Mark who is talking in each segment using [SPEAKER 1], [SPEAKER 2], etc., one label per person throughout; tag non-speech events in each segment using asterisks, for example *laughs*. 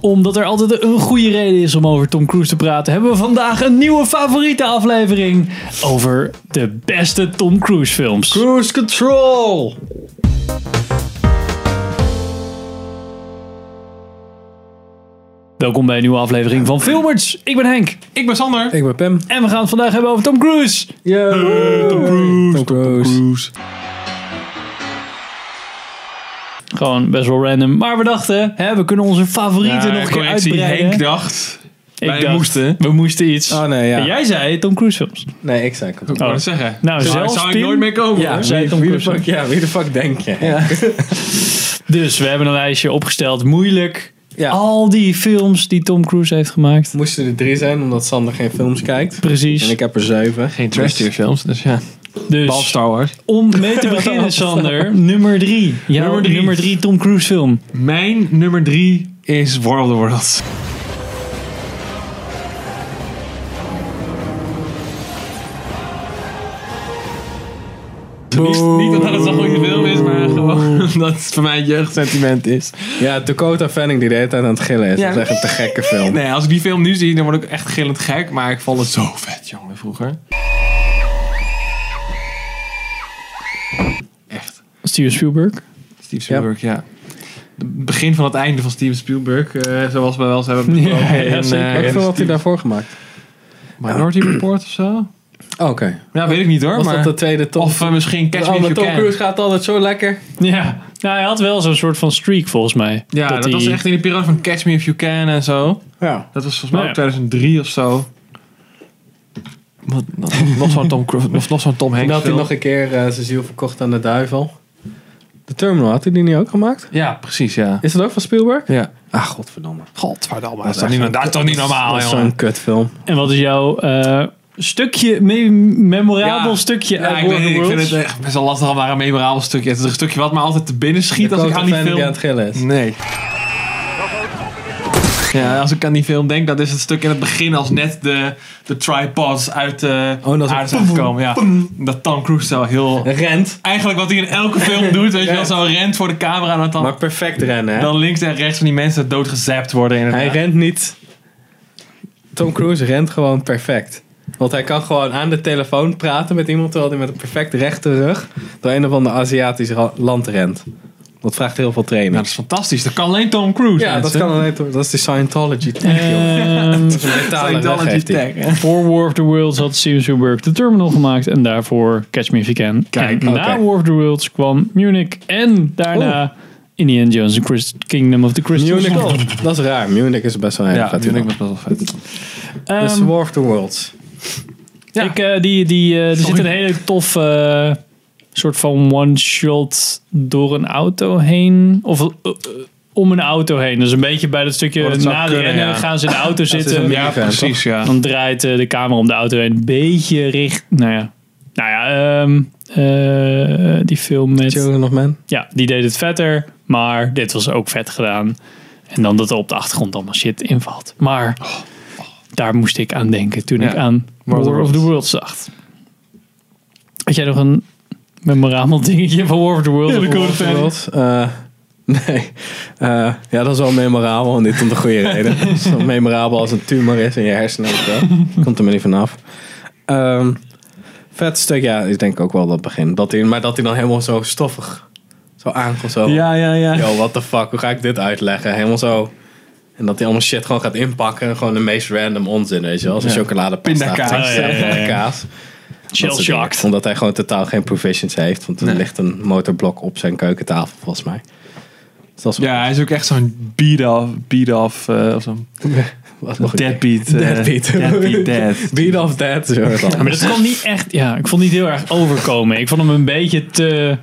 [SPEAKER 1] Omdat er altijd een goede reden is om over Tom Cruise te praten, hebben we vandaag een nieuwe favoriete aflevering over de beste Tom Cruise films.
[SPEAKER 2] Cruise Control!
[SPEAKER 1] Welkom bij een nieuwe aflevering van Filmers. Ik ben Henk
[SPEAKER 3] Ik ben Sander.
[SPEAKER 2] Ik ben Pam.
[SPEAKER 1] en we gaan het vandaag hebben over Tom Cruise.
[SPEAKER 2] Eh, Tom Cruise. Tom Cruise.
[SPEAKER 1] Gewoon best wel random, maar we dachten, hè, we kunnen onze favorieten nog een keer
[SPEAKER 3] correctie,
[SPEAKER 1] uitbreiden.
[SPEAKER 3] Henk dacht.
[SPEAKER 1] Ik
[SPEAKER 3] wij
[SPEAKER 1] dacht,
[SPEAKER 3] moesten. Ah,
[SPEAKER 1] We moesten iets.
[SPEAKER 2] Oh nee,
[SPEAKER 1] En
[SPEAKER 2] ja.
[SPEAKER 1] jij zei Tom Cruise films.
[SPEAKER 2] Nee, ik zei Tom
[SPEAKER 3] Ik wou het zeggen.
[SPEAKER 1] Nou,
[SPEAKER 3] Zou-
[SPEAKER 1] zelfs
[SPEAKER 3] zou ik
[SPEAKER 1] Pim-
[SPEAKER 3] nooit meer komen.
[SPEAKER 1] Ja.
[SPEAKER 3] hoor.
[SPEAKER 1] zei
[SPEAKER 2] wie,
[SPEAKER 1] Tom
[SPEAKER 2] wie de
[SPEAKER 1] Cruise.
[SPEAKER 2] fuck, ja, wie de fuck denk je? Ja.
[SPEAKER 1] Dus we hebben een lijstje opgesteld, moeilijk.
[SPEAKER 2] Ja.
[SPEAKER 1] Al die films die Tom Cruise heeft gemaakt.
[SPEAKER 2] *laughs* Moesten er drie zijn, omdat Sander geen films kijkt. En
[SPEAKER 1] Precies.
[SPEAKER 2] ik heb er zeven.
[SPEAKER 3] Geen Terrestrial films, dus ja. Behalve
[SPEAKER 1] Dus
[SPEAKER 3] Star Wars.
[SPEAKER 1] om mee te beginnen,
[SPEAKER 3] *laughs*
[SPEAKER 1] Sander, nummer drie. Jouw nummer
[SPEAKER 3] Nummer
[SPEAKER 1] drie,
[SPEAKER 3] drie.
[SPEAKER 1] Tom Cruise film.
[SPEAKER 3] Mijn nummer drie is War of the Worlds. Niet, niet omdat het zo'n goede film is, maar gewoon *laughs* dat het voor mij een jeugdsentiment is.
[SPEAKER 2] Ja, Dakota Fanning die de hele tijd aan het gillen is. Dat is echt een te gekke film.
[SPEAKER 3] Nee, als ik die film nu zie, dan word ik echt gillend gek. Maar ik vond het zo vet, jongen, vroeger. Echt.
[SPEAKER 1] Steven Spielberg.
[SPEAKER 3] Steve Spielberg, ja. Het begin van het einde van Steven Spielberg, eh, zoals we wel eens
[SPEAKER 2] *laughs*
[SPEAKER 3] hebben
[SPEAKER 1] Ja,
[SPEAKER 3] besproken.
[SPEAKER 1] ja,
[SPEAKER 3] in,
[SPEAKER 1] zeker.
[SPEAKER 3] eh,
[SPEAKER 2] Welke
[SPEAKER 3] in
[SPEAKER 2] film had hij
[SPEAKER 3] Steve-
[SPEAKER 2] daarvoor gemaakt?
[SPEAKER 3] Minority Report of zo?
[SPEAKER 2] Oh, Oké.
[SPEAKER 3] Ja, weet ik niet hoor.
[SPEAKER 2] Was
[SPEAKER 3] maar...
[SPEAKER 2] dat de tweede Tom?
[SPEAKER 3] Of eh, misschien Catch
[SPEAKER 2] Oh,
[SPEAKER 3] Me If
[SPEAKER 2] maar
[SPEAKER 3] You
[SPEAKER 2] Tom
[SPEAKER 3] Can.
[SPEAKER 2] Cruise gaat altijd zo lekker.
[SPEAKER 1] Ja. Nou, hij had wel zo'n soort van streak volgens mij.
[SPEAKER 3] Ja, dat,
[SPEAKER 1] hij-
[SPEAKER 3] was echt in de periode van Catch Me If You Can en zo.
[SPEAKER 2] Ja.
[SPEAKER 3] Dat was volgens mij
[SPEAKER 1] Ja.
[SPEAKER 3] ook 2003 of zo. Wat, nog- nog zo'n Tom Cruise, of nog zo'n Tom
[SPEAKER 2] En
[SPEAKER 3] Hanks
[SPEAKER 2] dat hij
[SPEAKER 3] film.
[SPEAKER 2] nog een keer eh, zijn ziel verkocht aan de duivel. De Terminal, had hij die niet ook gemaakt?
[SPEAKER 3] Ja, precies, ja.
[SPEAKER 2] Is dat ook van Spielberg?
[SPEAKER 3] Ja.
[SPEAKER 2] Ah, godverdomme.
[SPEAKER 3] Godverdamme.
[SPEAKER 2] Dat is toch niet-
[SPEAKER 3] dat is toch niet normaal,
[SPEAKER 2] dat is zo'n kutfilm.
[SPEAKER 1] En wat is jouw eh, stukje, me- memorabel
[SPEAKER 3] Ja.
[SPEAKER 1] stukje
[SPEAKER 3] Ja,
[SPEAKER 1] uit
[SPEAKER 3] ik,
[SPEAKER 1] War of
[SPEAKER 3] weet,
[SPEAKER 1] the
[SPEAKER 3] niet, ik vind
[SPEAKER 1] Worlds?
[SPEAKER 3] het echt best wel lastig om maar een memorabel stukje. Het is een stukje wat me altijd te binnen schiet als ik
[SPEAKER 2] Dakota
[SPEAKER 3] aan die
[SPEAKER 2] Fanning die aan
[SPEAKER 3] film...
[SPEAKER 2] het gillen is.
[SPEAKER 3] Nee. Ja, als ik aan die film denk, dat is het stuk in het begin als net de, de tripods uit de
[SPEAKER 2] Oh, dat is-
[SPEAKER 3] aarde zijn gekomen. Ja. Dat Tom Cruise zo heel...
[SPEAKER 2] Rent.
[SPEAKER 3] Eigenlijk wat hij in elke
[SPEAKER 2] *laughs*
[SPEAKER 3] film doet, weet je wel, zo rent voor de camera en dat dan,
[SPEAKER 2] Maar perfect rennen, hè?
[SPEAKER 3] dan links en rechts van die mensen doodgezapt worden. In
[SPEAKER 2] Hij rent niet... Tom Cruise rent gewoon perfect. Want hij kan gewoon aan de telefoon praten met iemand... terwijl hij met een perfect rechte rug... door een of ander Aziatisch ra- land rent. Dat vraagt heel veel
[SPEAKER 3] Ja,
[SPEAKER 2] training.
[SPEAKER 3] dat is fantastisch. Dat kan alleen Tom Cruise.
[SPEAKER 2] Ja, dat
[SPEAKER 3] mensen.
[SPEAKER 2] kan alleen... Dat is de Scientology
[SPEAKER 3] eh,
[SPEAKER 2] tech, joh.
[SPEAKER 1] Ehm, *laughs*
[SPEAKER 2] Dat is een mentale rug,
[SPEAKER 3] Scientology
[SPEAKER 2] heeft hij.
[SPEAKER 3] tech. hè.
[SPEAKER 1] Voor War of the Worlds had Steven Spielberg de Terminal gemaakt en daarvoor Catch Me If You Can.
[SPEAKER 2] Kijk,
[SPEAKER 1] en
[SPEAKER 2] oké.
[SPEAKER 1] na War of the Worlds kwam Munich en daarna
[SPEAKER 3] Oh.
[SPEAKER 1] Indiana Jones and Christ- Kingdom of the Crystal Skull.
[SPEAKER 2] Munich, dat is raar. Munich is best wel een hele
[SPEAKER 3] Ja,
[SPEAKER 2] vet
[SPEAKER 3] dat vind ik
[SPEAKER 2] film.
[SPEAKER 3] best wel vet.
[SPEAKER 1] Ehm,
[SPEAKER 2] Dus War of the Worlds.
[SPEAKER 3] Ja.
[SPEAKER 1] ik, eh, die, die, eh, er
[SPEAKER 3] Sorry.
[SPEAKER 1] zit een hele tof eh, soort van one-shot door een auto heen. Of eh, eh, om een auto heen. Dus een beetje bij dat stukje
[SPEAKER 3] Oh, dat zou
[SPEAKER 1] na de
[SPEAKER 3] kunnen,
[SPEAKER 1] rennen
[SPEAKER 3] ja.
[SPEAKER 1] gaan ze
[SPEAKER 3] *laughs*
[SPEAKER 1] in de auto
[SPEAKER 2] een
[SPEAKER 1] zitten.
[SPEAKER 2] Ja,
[SPEAKER 3] Ja,
[SPEAKER 2] precies,
[SPEAKER 3] precies, ja.
[SPEAKER 1] Dan draait eh, de camera om de auto heen. Een beetje richt. Nou ja. Nou ja, ehm, eh, die film met.
[SPEAKER 2] Children of Men.
[SPEAKER 1] Ja, die deed het vetter. Maar dit was ook vet gedaan. En dan dat er op de achtergrond allemaal shit invalt. Maar daar moest ik aan denken toen
[SPEAKER 3] Ja.
[SPEAKER 1] ik aan War of the Worlds, dacht. Had jij nog een memorabel dingetje van War of the Worlds? of War of the Worlds?
[SPEAKER 2] Worlds. Eh, *laughs* nee. Eh, ja, dat is wel memorabel. En dit om de goede reden. Het is wel memorabel als een tumor is in je hersenen. weet je wel. Komt er maar niet vanaf. Ehm vet stuk. Ja, ik denk ook wel dat begin. Dat hij, maar dat hij dan helemaal zo stoffig zo aankomt. Zo.
[SPEAKER 3] Ja, ja, ja.
[SPEAKER 2] *laughs* Yo, what the fuck? Hoe ga ik dit uitleggen? Helemaal zo. En dat hij allemaal shit gewoon gaat inpakken. Gewoon de meest random onzin, weet je wel. Als een
[SPEAKER 3] Ja.
[SPEAKER 2] chocoladepasta.
[SPEAKER 3] Pindakaas.
[SPEAKER 1] Oh, Ja, ja, ja, ja.
[SPEAKER 2] Kaas. Dat soort
[SPEAKER 1] Shell-shocked.
[SPEAKER 2] dingen. Omdat hij gewoon totaal geen provisions heeft. Want er
[SPEAKER 3] Nee.
[SPEAKER 2] ligt een motorblok op zijn keukentafel, volgens mij. Dus dat is
[SPEAKER 3] Ja, hij is ook echt zo'n beat-off, beat-off, eh, of zo'n
[SPEAKER 2] was nog een keer.
[SPEAKER 3] deadbeat. eh,
[SPEAKER 2] Deadbeat.
[SPEAKER 3] Deadbeat, dead.
[SPEAKER 2] *laughs* Beat of dead. zo is het
[SPEAKER 1] Ja, maar dat kwam niet echt. Ja, ik vond het niet heel erg overkomen. Ik vond hem een beetje te.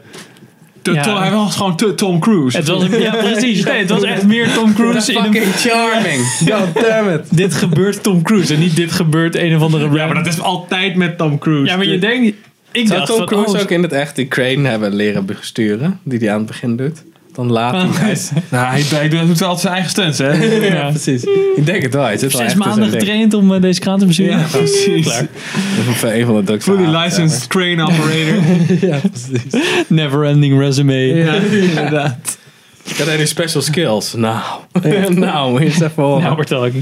[SPEAKER 3] De
[SPEAKER 1] Ja.
[SPEAKER 3] Tom- Hij was gewoon te- Tom Cruise.
[SPEAKER 1] Het was, ja, precies. Nee, het was echt meer Tom Cruise. In een,
[SPEAKER 2] Fucking
[SPEAKER 3] *laughs*
[SPEAKER 2] charming. God damn it.
[SPEAKER 1] dit gebeurt Tom Cruise en niet dit gebeurt een of andere.
[SPEAKER 3] ja, maar dat is altijd met Tom Cruise.
[SPEAKER 1] Ja, maar je denkt. Ik
[SPEAKER 2] Zou
[SPEAKER 1] dacht
[SPEAKER 2] Tom
[SPEAKER 1] van,
[SPEAKER 2] Cruise
[SPEAKER 1] oh,
[SPEAKER 2] ook in het echt die crane hebben leren besturen? Die hij aan het begin doet? Dan laat
[SPEAKER 1] Ah.
[SPEAKER 2] hij. hij is-
[SPEAKER 3] Nou, hij, hij doet altijd zijn eigen stunts,
[SPEAKER 2] *laughs*
[SPEAKER 3] hè?
[SPEAKER 1] ja.
[SPEAKER 2] Precies. Ik denk het wel. Hij zit
[SPEAKER 1] Zes
[SPEAKER 2] wel echt in zo'n
[SPEAKER 1] maanden
[SPEAKER 2] ding.
[SPEAKER 1] getraind om eh, deze kraan te besturen.
[SPEAKER 3] Ja,
[SPEAKER 1] *laughs*
[SPEAKER 3] precies.
[SPEAKER 1] Klaar.
[SPEAKER 2] Of een van de drugs.
[SPEAKER 3] Fully
[SPEAKER 2] aan.
[SPEAKER 3] licensed crane operator.
[SPEAKER 2] Ja, precies.
[SPEAKER 1] *laughs* Never ending resume.
[SPEAKER 3] ja, inderdaad.
[SPEAKER 2] Dat zijn die special skills. Nou, *laughs* nou, eens even horen.
[SPEAKER 1] Nou, vertel ik.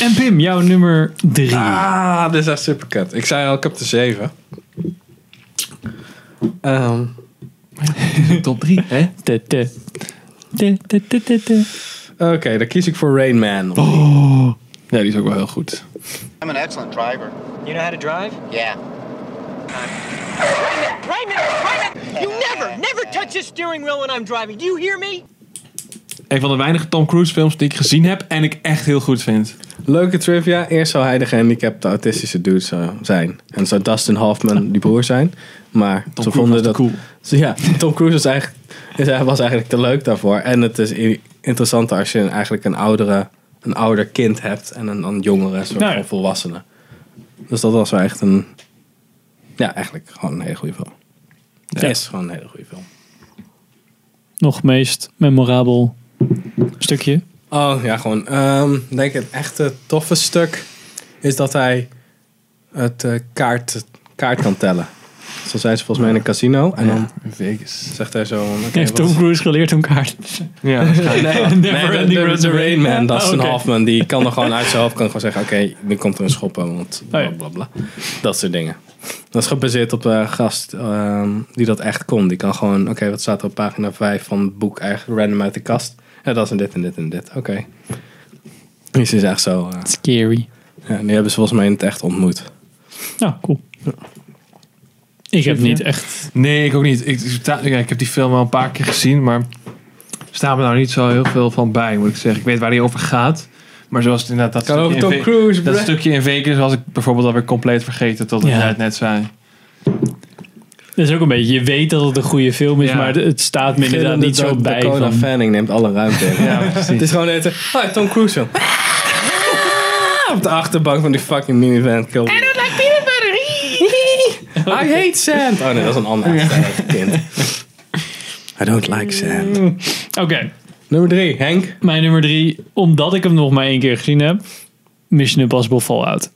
[SPEAKER 1] En Pim, jouw nummer drie.
[SPEAKER 2] Ah, dit is echt super kut. Ik zei al, ik heb de 7.
[SPEAKER 3] Top 3, hè?
[SPEAKER 1] Te, te. Te, te, te, te, te.
[SPEAKER 2] Oké, dan kies ik voor Rain Man. Ja, die is ook wel heel goed.
[SPEAKER 4] I'm an excellent driver.
[SPEAKER 5] You know how to drive?
[SPEAKER 4] Yeah.
[SPEAKER 5] Raymond, Raymond, you never, never touch the steering wheel when I'm driving. Do you hear me?
[SPEAKER 3] Een van de weinige Tom Cruise films die ik gezien heb en ik echt heel goed vind.
[SPEAKER 2] Leuke trivia. Eerst zou hij de gehandicapte autistische dude zou zijn. En zou Dustin Hoffman die broer zijn. Maar ze
[SPEAKER 3] Cruise
[SPEAKER 2] vonden
[SPEAKER 3] was te
[SPEAKER 2] dat...
[SPEAKER 3] cool.
[SPEAKER 2] Ze- Ja, Tom Cruise was eigenlijk, is eigenlijk- was eigenlijk te leuk daarvoor. En het is i- interessant als je eigenlijk een, oudere, een ouder kind hebt. En een, een jongere soort
[SPEAKER 1] Nou ja.
[SPEAKER 2] van volwassene. Dus dat was wel echt een... Ja, eigenlijk gewoon een hele goede film. Het
[SPEAKER 1] Ja.
[SPEAKER 2] is gewoon een hele goede film.
[SPEAKER 1] Nog meest memorabel stukje.
[SPEAKER 2] Oh ja, gewoon. Ehm, ik denk het echte toffe stuk is dat hij het eh, kaart, kaart kan tellen. Zo zijn ze volgens mij in een casino. En dan
[SPEAKER 3] Vegas.
[SPEAKER 2] zegt hij zo. van, oké,
[SPEAKER 1] Heeft
[SPEAKER 2] wat- Oh,
[SPEAKER 1] Tom Cruise geleerd om
[SPEAKER 2] *laughs*
[SPEAKER 1] kaart.
[SPEAKER 3] Ja, waarschijnlijk.
[SPEAKER 2] Nee, de, de- de Rain
[SPEAKER 1] Oh,
[SPEAKER 2] Man, dat is een Hoffman. Die kan er gewoon uit zijn hoofd kan gewoon zeggen: Oké, nu komt er een schoppen, want
[SPEAKER 1] Oh ja.
[SPEAKER 2] bla bla bla. Dat soort dingen. Dat is gebaseerd op een gast ehm, die dat echt kon. Die kan gewoon: Oké, wat staat er op pagina 5 van het boek eigenlijk random uit de kast? Ja, dat is een dit en dit en dit. Oké. Dus het is echt zo. eh,
[SPEAKER 1] Scary.
[SPEAKER 2] Ja, die hebben ze volgens mij in het echt ontmoet.
[SPEAKER 1] Nou, cool. Ik heb niet echt...
[SPEAKER 3] Nee, ik ook niet. Ik, ik sta- ja, ik heb die film al een paar keer gezien, maar staan me nou niet zo heel veel van bij, moet ik zeggen. Ik weet waar die over gaat, maar zoals het inderdaad dat
[SPEAKER 2] Kan
[SPEAKER 3] stukje
[SPEAKER 2] over
[SPEAKER 3] in
[SPEAKER 2] Tom
[SPEAKER 3] Ve-
[SPEAKER 2] Cruise,
[SPEAKER 3] Dat
[SPEAKER 2] bruh.
[SPEAKER 3] stukje in Vegas was ik bijvoorbeeld alweer compleet vergeten tot
[SPEAKER 1] Ja.
[SPEAKER 3] jij het net zei.
[SPEAKER 1] Dat is ook een beetje... Je weet dat het een goede film is,
[SPEAKER 3] Ja.
[SPEAKER 1] maar het staat me inderdaad niet zo bij
[SPEAKER 2] Dakota
[SPEAKER 1] van...
[SPEAKER 2] Fanning neemt alle ruimte *laughs* in.
[SPEAKER 3] Ja,
[SPEAKER 2] Het
[SPEAKER 3] *laughs* precies.
[SPEAKER 2] is gewoon eten. Hi, Tom Cruise film. *laughs* Op de achterbank van die fucking minivan. Kill me. I don't like peanut butter. I hate sand. Oh nee, dat is een ander uitstervend kind. I don't like sand.
[SPEAKER 1] Oké,
[SPEAKER 2] Nummer drie, Henk.
[SPEAKER 1] mijn nummer drie. Omdat ik hem nog maar één keer gezien heb. Mission Impossible Fallout.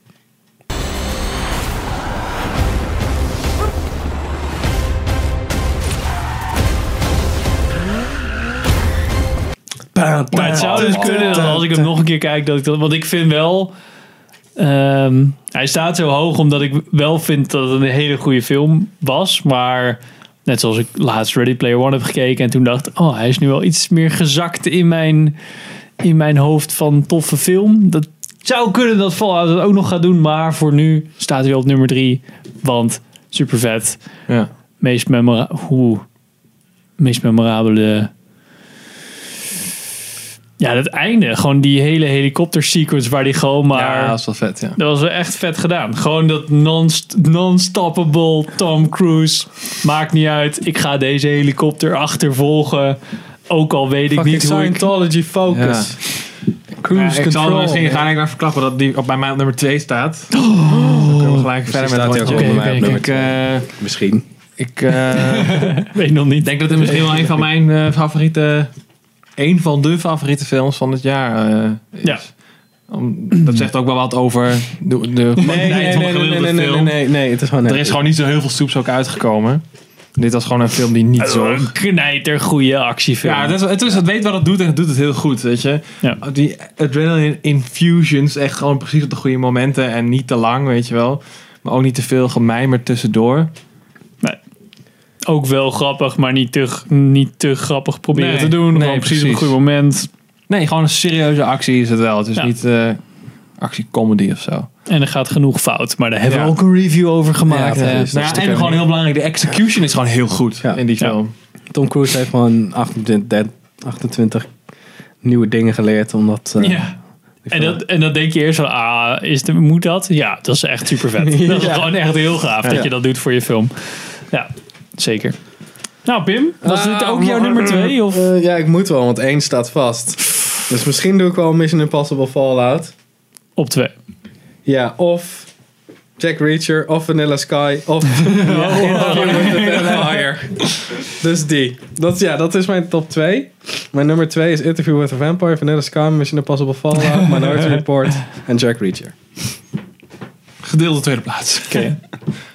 [SPEAKER 1] Maar het zou dus kunnen dat als ik hem nog een keer kijk, dat ik dat. Want ik vind wel. ehm, hij staat zo hoog omdat ik wel vind dat het een hele goede film was. Maar net zoals ik laatst Ready Player One heb gekeken en toen dacht, oh, hij is nu wel iets meer gezakt in mijn, in mijn hoofd van toffe film. Dat zou kunnen dat Fallout dat ook nog gaat doen. Maar voor nu staat hij wel op nummer drie. Want super vet
[SPEAKER 3] Ja.
[SPEAKER 1] meest, memora hoe, meest memorabele. Ja, dat einde. Gewoon die hele helikoptersequence waar die gewoon maar.
[SPEAKER 3] ja, dat is wel vet, ja.
[SPEAKER 1] Dat was wel echt vet gedaan. Gewoon dat non-st- non-stoppable Tom Cruise. Maakt niet uit. Ik ga deze helikopter achtervolgen. Ook al weet ik
[SPEAKER 2] Fucking
[SPEAKER 1] niet hoe ik...
[SPEAKER 2] Scientology focus. Cruise
[SPEAKER 3] Ja, ik zal er
[SPEAKER 2] control. Oh.
[SPEAKER 3] misschien gaan ik naar verklappen dat die op bij mij op nummer
[SPEAKER 2] *gasps*
[SPEAKER 3] 2 staat. Dus Dan kunnen we gelijk verder met
[SPEAKER 2] Dus staat hij
[SPEAKER 3] het
[SPEAKER 2] ook
[SPEAKER 1] Oké,
[SPEAKER 2] onder mij op
[SPEAKER 1] oké,
[SPEAKER 2] nummer
[SPEAKER 3] Ik, eh,
[SPEAKER 2] Misschien.
[SPEAKER 3] ik eh, *laughs*
[SPEAKER 1] Weet nog niet.
[SPEAKER 3] Ik denk dat het misschien wel een van mijn eh, favoriete. Een van de favoriete films van het jaar eh, is.
[SPEAKER 1] Ja.
[SPEAKER 3] Om- dat zegt ook wel wat over de, de kwaliteit van de gemiddelde film.
[SPEAKER 2] nee, nee. Het is gewoon
[SPEAKER 3] Er is gewoon niet zo heel veel soeps ook uitgekomen. Dit was gewoon een film die
[SPEAKER 2] Eh,
[SPEAKER 3] niet zo.
[SPEAKER 1] Een knijter goede actiefilm.
[SPEAKER 3] Ja, het, is, het, is, het weet wat het doet en het doet het heel goed, weet je. Oh,
[SPEAKER 1] Ja.
[SPEAKER 3] Die adrenaline infusions, echt gewoon precies op de goede momenten en niet te lang, weet je wel. Maar ook niet te veel gemijmer tussendoor.
[SPEAKER 1] ook wel grappig, maar niet te, niet te grappig proberen
[SPEAKER 3] Nee,
[SPEAKER 1] te doen.
[SPEAKER 3] nee,
[SPEAKER 1] Gewoon precies, op
[SPEAKER 3] precies.
[SPEAKER 1] een goed moment.
[SPEAKER 3] Nee, gewoon een serieuze actie is het wel. Het is
[SPEAKER 1] Ja.
[SPEAKER 3] niet eh actiecomedy of zo.
[SPEAKER 1] En er gaat genoeg fout. Maar daar hebben
[SPEAKER 3] Ja.
[SPEAKER 1] we ook een review over gemaakt.
[SPEAKER 2] Ja,
[SPEAKER 1] hè.
[SPEAKER 2] precies.
[SPEAKER 3] Nou,
[SPEAKER 2] Dus
[SPEAKER 3] ja,
[SPEAKER 2] dat
[SPEAKER 3] en
[SPEAKER 2] kan
[SPEAKER 3] gewoon
[SPEAKER 2] niet.
[SPEAKER 3] heel belangrijk, de execution is gewoon heel goed
[SPEAKER 2] Ja.
[SPEAKER 3] in die
[SPEAKER 1] Ja.
[SPEAKER 3] film.
[SPEAKER 2] Tom Cruise heeft gewoon 28, 28 nieuwe dingen geleerd. Omdat... eh,
[SPEAKER 1] Ja. En, dat, en dan denk je eerst van, ah, is de, moet dat? Ja, dat is echt super
[SPEAKER 2] *laughs*
[SPEAKER 1] vet. Dat is
[SPEAKER 2] Ja.
[SPEAKER 1] gewoon echt heel gaaf
[SPEAKER 2] Ja.
[SPEAKER 1] dat je dat doet voor je film. Ja, zeker. Nou, Pim, was dit
[SPEAKER 2] Nou,
[SPEAKER 1] ook jouw
[SPEAKER 2] maar-
[SPEAKER 1] nummer twee? Of?
[SPEAKER 2] Eh, ja, ik moet wel, want één staat vast. Dus misschien doe ik wel Mission Impossible Fallout.
[SPEAKER 1] Op twee.
[SPEAKER 2] Ja, of Jack Reacher, of Vanilla Sky, of *laughs*
[SPEAKER 3] *laughs*
[SPEAKER 2] Interview with the Vampire. Dus die. Dat, ja, dat is mijn top 2. Mijn nummer 2 is Interview with the Vampire, Vanilla Sky, Mission Impossible
[SPEAKER 3] *laughs*
[SPEAKER 2] Fallout, Minority Report en Jack Reacher.
[SPEAKER 3] Gedeelde tweede plaats. *laughs*
[SPEAKER 1] Oké.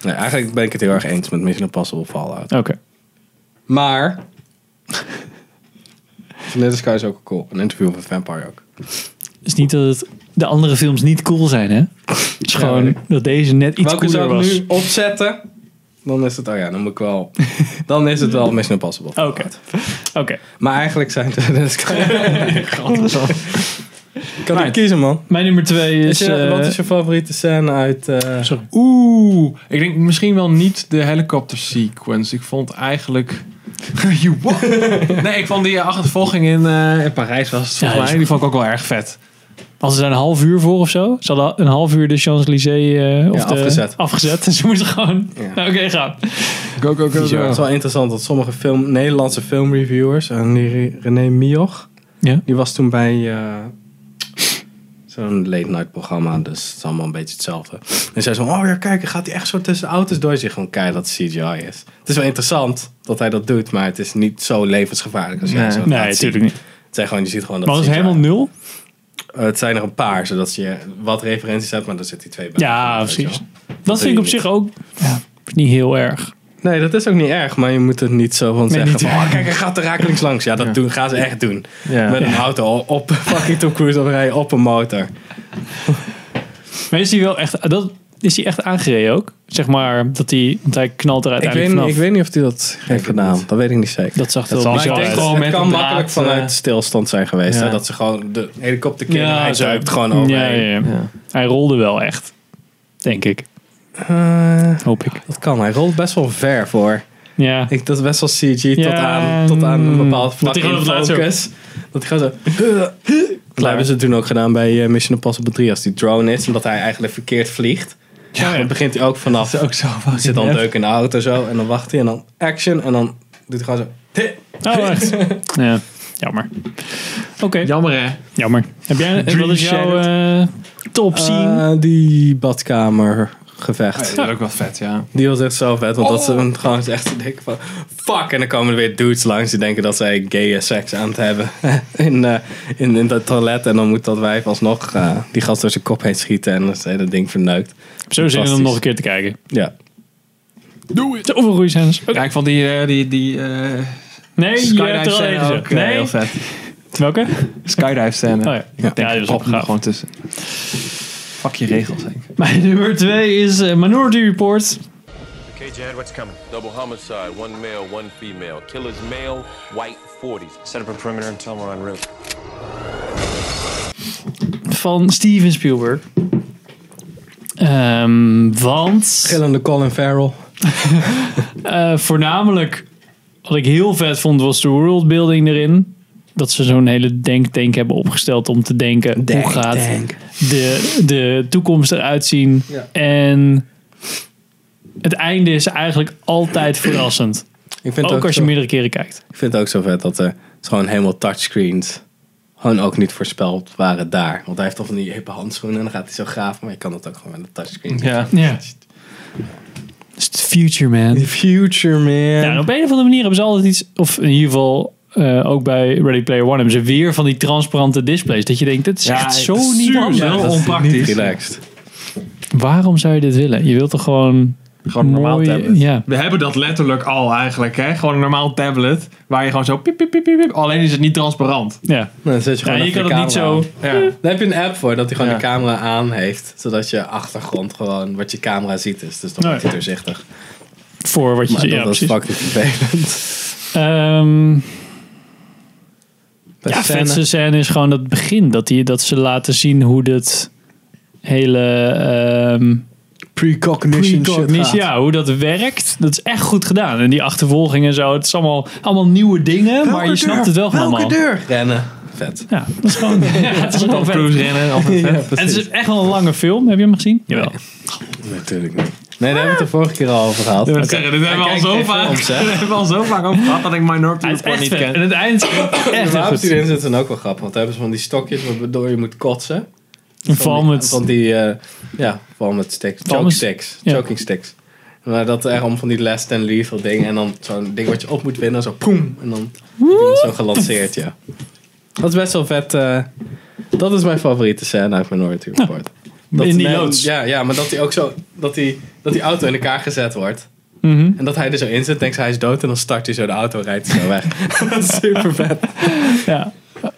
[SPEAKER 2] Nee, eigenlijk ben ik het heel erg eens met Mission Impossible Fallout.
[SPEAKER 1] Oké.
[SPEAKER 2] Maar... *laughs* Vanilla Sky is ook cool. Een interview van Vampire ook.
[SPEAKER 1] is niet dat het, de andere films niet cool zijn, hè? Het is
[SPEAKER 2] Ja,
[SPEAKER 1] gewoon
[SPEAKER 2] weet
[SPEAKER 1] dat deze net iets
[SPEAKER 2] Welke
[SPEAKER 1] cooler
[SPEAKER 2] zou
[SPEAKER 1] was.
[SPEAKER 2] ik nu opzetten? Dan is het, oh ja, dan moet ik
[SPEAKER 1] *laughs*
[SPEAKER 2] wel. Dan is het wel Mission Impossible.
[SPEAKER 1] Oké, oké.
[SPEAKER 2] Maar eigenlijk zijn het *laughs* Vanilla Sky. kan ik kiezen, man.
[SPEAKER 1] Mijn nummer twee
[SPEAKER 2] Is
[SPEAKER 1] is...
[SPEAKER 2] je,
[SPEAKER 1] eh,
[SPEAKER 2] wat is je favoriete scène uit... eh,
[SPEAKER 3] Oeh, ik denk misschien wel niet de helicopter sequence. Ik vond
[SPEAKER 1] *laughs*
[SPEAKER 3] eigenlijk. You what? *laughs* nee, ik vond die eh, achtervolging in, eh, in Parijs was
[SPEAKER 1] Ja,
[SPEAKER 3] het volgens
[SPEAKER 1] is-
[SPEAKER 3] mij. Die vond ik ook wel erg vet.
[SPEAKER 1] Als ze daar een half uur voor of zo. Ze hadden een half uur de Champs-Élysées eh, of
[SPEAKER 2] Ja,
[SPEAKER 1] de-
[SPEAKER 2] afgezet.
[SPEAKER 1] afgezet. *laughs* Dus ze moesten gewoon...
[SPEAKER 2] Ja.
[SPEAKER 1] Nou, *laughs* Oké, gaan.
[SPEAKER 3] Go, go, go,
[SPEAKER 2] Het is wel interessant dat sommige film, Nederlandse filmreviewers, en die Re- René Mioch,
[SPEAKER 1] Ja.
[SPEAKER 2] die was toen bij eh, zo'n late night programma, dus het is allemaal een beetje hetzelfde. En zei zo, oh ja, kijk, dan gaat hij echt zo tussen de auto's door. Je ziet gewoon keihard dat het CGI is. Het is wel interessant dat hij dat doet, maar het is niet zo levensgevaarlijk als jij
[SPEAKER 3] Nee.
[SPEAKER 2] zo laat
[SPEAKER 1] Nee,
[SPEAKER 2] zien.
[SPEAKER 1] natuurlijk niet.
[SPEAKER 2] Het zijn gewoon, je ziet gewoon dat
[SPEAKER 1] Maar was het
[SPEAKER 2] CGI
[SPEAKER 1] helemaal nul?
[SPEAKER 2] Eh, het zijn er een paar, zodat je wat referenties hebt, maar er zitten die twee bij.
[SPEAKER 1] Ja,
[SPEAKER 2] Weet je
[SPEAKER 1] precies.
[SPEAKER 2] wel.
[SPEAKER 1] Dat vind ik op
[SPEAKER 2] niet.
[SPEAKER 1] zich ook ja, niet heel erg.
[SPEAKER 2] Nee, dat is ook niet erg, maar je moet het niet zo van zeggen
[SPEAKER 1] niet
[SPEAKER 2] van, oh, kijk, hij gaat er rakelings langs. Ja, dat doen, gaan ze echt doen.
[SPEAKER 3] Ja.
[SPEAKER 2] Met een auto op fucking Tom Cruise of rijden op een motor.
[SPEAKER 1] Maar is hij wel echt... Dat, is hij echt aangereden ook? Zeg maar dat hij... Want hij knalt er
[SPEAKER 2] Ik
[SPEAKER 1] uiteindelijk
[SPEAKER 2] weet,
[SPEAKER 1] vanaf.
[SPEAKER 2] niet, ik weet niet of hij dat heeft gedaan. Dat weet ik niet zeker.
[SPEAKER 1] Dat zag er wel
[SPEAKER 3] zal-
[SPEAKER 1] bizar
[SPEAKER 3] maar ik denk
[SPEAKER 1] uit.
[SPEAKER 3] wel-
[SPEAKER 2] het,
[SPEAKER 3] met
[SPEAKER 2] kan
[SPEAKER 3] een draad,
[SPEAKER 2] makkelijk vanuit
[SPEAKER 3] eh,
[SPEAKER 2] stilstand zijn geweest.
[SPEAKER 3] ja.
[SPEAKER 2] Hè? Dat ze gewoon de helikopter keer en hij
[SPEAKER 1] zo.
[SPEAKER 2] zuipt gewoon over.
[SPEAKER 1] Ja, ja, ja.
[SPEAKER 3] Ja.
[SPEAKER 1] Hij rolde wel echt. Denk ik. Hoop ik.
[SPEAKER 2] Eh, dat kan. Hij rolt best wel ver voor.
[SPEAKER 1] Ja.
[SPEAKER 2] Ik, dat is best wel CG tot,
[SPEAKER 1] Ja,
[SPEAKER 2] aan, tot aan een bepaald vlak
[SPEAKER 1] hij gewoon
[SPEAKER 2] in
[SPEAKER 1] op het laatst
[SPEAKER 2] focus. Dat hij gewoon zo... Dat hebben ze toen ook gedaan bij eh, Mission Impossible 3. Als die drone is en dat hij eigenlijk verkeerd vliegt.
[SPEAKER 1] ja.
[SPEAKER 2] Dan begint hij ook
[SPEAKER 1] *laughs*
[SPEAKER 2] vanaf...
[SPEAKER 3] ook zo.
[SPEAKER 2] Hij zit dan deuk in de auto zo. En dan wacht hij en dan action. En dan doet hij gewoon zo...
[SPEAKER 1] Oh, echt? ja. Jammer. Oké.
[SPEAKER 3] Jammer hè?
[SPEAKER 1] Jammer. Heb jij,
[SPEAKER 3] Dream
[SPEAKER 1] wat is jouw eh, top scene? Oh,
[SPEAKER 2] Eh, die badkamergevecht.
[SPEAKER 3] Dat is ook wel vet, ja.
[SPEAKER 2] Die was echt zo vet. Want dat ze hem gewoon echt denken van... Fuck! En dan komen er weer dudes langs die denken dat zij gay seks aan het hebben. *laughs* in, eh, in, in dat toilet. En dan moet dat wijf alsnog eh, die gast door zijn kop heen schieten. En dan is het hele ding verneukt.
[SPEAKER 1] Zo zin om hem
[SPEAKER 2] fantastisch.
[SPEAKER 1] nog een keer te kijken.
[SPEAKER 2] Ja.
[SPEAKER 1] Doe het. Zoveel goede scènes. Oké.
[SPEAKER 3] Ja, ik vond die, eh, die, die eh
[SPEAKER 1] Nee, je hebt
[SPEAKER 3] skydive
[SPEAKER 1] er al één
[SPEAKER 3] scène
[SPEAKER 1] gezegd.
[SPEAKER 3] ook eh,
[SPEAKER 1] Nee.
[SPEAKER 3] heel vet.
[SPEAKER 1] Welke?
[SPEAKER 3] Skydive scène.
[SPEAKER 1] Oh ja. Ja, die was
[SPEAKER 3] Pop hem er
[SPEAKER 1] opgegaan.
[SPEAKER 3] gewoon tussen. Fuck je regels, Henk.
[SPEAKER 1] Mijn *laughs* nummer twee is eh, Minority Report.
[SPEAKER 6] Okay, Jad, what's coming?
[SPEAKER 7] Double homicide, one male, one female. Killer's male, white 40s.
[SPEAKER 6] Set up a perimeter and tell them we're en route.
[SPEAKER 1] Van Steven Spielberg. Ehm, want...
[SPEAKER 2] Gillende Colin Farrell.
[SPEAKER 1] Eh, voornamelijk wat ik heel vet vond was de worldbuilding erin. Dat ze zo'n hele denktank hebben opgesteld om te denken hoe gaat de, de toekomst eruit zien. En het einde is eigenlijk altijd verrassend.
[SPEAKER 2] Ik vind, het
[SPEAKER 1] Ook als je
[SPEAKER 2] zo-
[SPEAKER 1] meerdere keren kijkt.
[SPEAKER 2] ik vind het ook zo vet dat er het is gewoon helemaal touchscreens gewoon ook niet voorspeld waren daar. Want hij heeft toch van die hippe handschoenen en dan gaat hij zo graven. Maar je kan dat ook gewoon met een touchscreen.
[SPEAKER 3] Ja.
[SPEAKER 1] Ja. It's the future man.
[SPEAKER 2] The future, man.
[SPEAKER 1] Ja, en op een of andere manier hebben ze altijd iets, of in ieder geval eh, ook bij Ready Player One hebben ze weer van die transparante displays. Dat je denkt, dit is echt zo niet handig.
[SPEAKER 3] zo
[SPEAKER 2] dat is
[SPEAKER 3] onpraktisch.
[SPEAKER 2] Niet relaxed.
[SPEAKER 1] Waarom zou je dit willen? Je wilt toch gewoon
[SPEAKER 3] Gewoon een normaal
[SPEAKER 1] mooi-
[SPEAKER 3] tablet.
[SPEAKER 1] Ja.
[SPEAKER 3] We hebben dat letterlijk al eigenlijk, hè? Gewoon een normaal tablet. Waar je gewoon zo piep, piep, piep, piep, piep. Alleen is het niet transparant.
[SPEAKER 1] Ja.
[SPEAKER 2] Nou, dan zet je
[SPEAKER 1] Ja,
[SPEAKER 2] gewoon
[SPEAKER 1] je
[SPEAKER 2] even
[SPEAKER 1] kan
[SPEAKER 2] de
[SPEAKER 1] het niet
[SPEAKER 2] camera
[SPEAKER 1] zo.
[SPEAKER 2] aan.
[SPEAKER 3] Ja.
[SPEAKER 2] Daar heb je een app voor dat hij gewoon
[SPEAKER 3] Ja.
[SPEAKER 2] de camera aan heeft. Zodat je achtergrond gewoon wat je camera ziet is. Dus dan
[SPEAKER 1] Oh,
[SPEAKER 2] wordt hij
[SPEAKER 1] ja.
[SPEAKER 2] doorzichtig.
[SPEAKER 1] Voor wat je
[SPEAKER 2] Maar
[SPEAKER 1] zegt.
[SPEAKER 2] dat
[SPEAKER 1] Ja,
[SPEAKER 2] was
[SPEAKER 1] precies.
[SPEAKER 2] fucking vervelend.
[SPEAKER 1] Ehm,
[SPEAKER 2] Bij
[SPEAKER 1] ja,
[SPEAKER 2] scène-
[SPEAKER 1] vetste scène is gewoon dat begin. Dat, die, dat ze laten zien hoe dat hele ehm
[SPEAKER 2] Precognition
[SPEAKER 1] precognition- ja, hoe dat werkt. Dat is echt goed gedaan. En die achtervolging en zo. Het is allemaal, allemaal nieuwe dingen. maar je snapt het wel gewoon
[SPEAKER 2] Welke
[SPEAKER 1] allemaal.
[SPEAKER 2] deur? *laughs* Rennen. Vet.
[SPEAKER 1] Ja, dat is gewoon... *laughs* ja, het
[SPEAKER 2] *laughs*
[SPEAKER 1] is gewoon vet.
[SPEAKER 3] Cruise
[SPEAKER 1] *laughs*
[SPEAKER 3] rennen. altijd vet.
[SPEAKER 1] En het is echt wel een lange film. Heb je hem gezien? Jawel.
[SPEAKER 2] Natuurlijk niet. Nee, daar hebben we het de vorige keer al over gehad.
[SPEAKER 3] Ik wil zeggen, dit hebben we al
[SPEAKER 2] Hij
[SPEAKER 3] zo
[SPEAKER 2] kijkt geen
[SPEAKER 3] vaak.
[SPEAKER 2] films, hè?
[SPEAKER 3] Dit *laughs* hebben we al zo vaak over gehad dat ik Minority
[SPEAKER 1] Hij is
[SPEAKER 3] Report
[SPEAKER 1] echt
[SPEAKER 3] niet
[SPEAKER 1] vet.
[SPEAKER 3] ken.
[SPEAKER 1] En het
[SPEAKER 2] *laughs*
[SPEAKER 1] eind is echt
[SPEAKER 2] de
[SPEAKER 1] heel
[SPEAKER 2] wapens
[SPEAKER 1] goed.
[SPEAKER 2] die erin zitten zijn ook wel grappig. Want daar hebben ze van die stokjes waardoor je moet kotsen.
[SPEAKER 1] Een val
[SPEAKER 2] Van die-
[SPEAKER 1] met...
[SPEAKER 2] Van die, eh, ja, vooral met sticks.
[SPEAKER 1] Val
[SPEAKER 2] Choking
[SPEAKER 1] met-
[SPEAKER 2] sticks.
[SPEAKER 1] ja.
[SPEAKER 2] Choking sticks. Maar dat er om van die last and lethal dingen. En dan zo'n ding wat je op moet winnen. Zo poem. En dan wordt zo gelanceerd, ja. Dat is best wel vet. eh, dat is mijn favoriete scène uit Minority Report. Dat
[SPEAKER 1] in die
[SPEAKER 2] men-
[SPEAKER 1] loods.
[SPEAKER 2] Ja, ja, maar dat hij ook zo... Dat die, dat die auto in elkaar gezet wordt.
[SPEAKER 1] Mhm.
[SPEAKER 2] En dat hij er zo in zit, denkt hij is dood. En dan start hij zo de auto en rijdt hij zo weg.
[SPEAKER 1] *laughs*
[SPEAKER 2] dat is super vet.
[SPEAKER 1] Ja.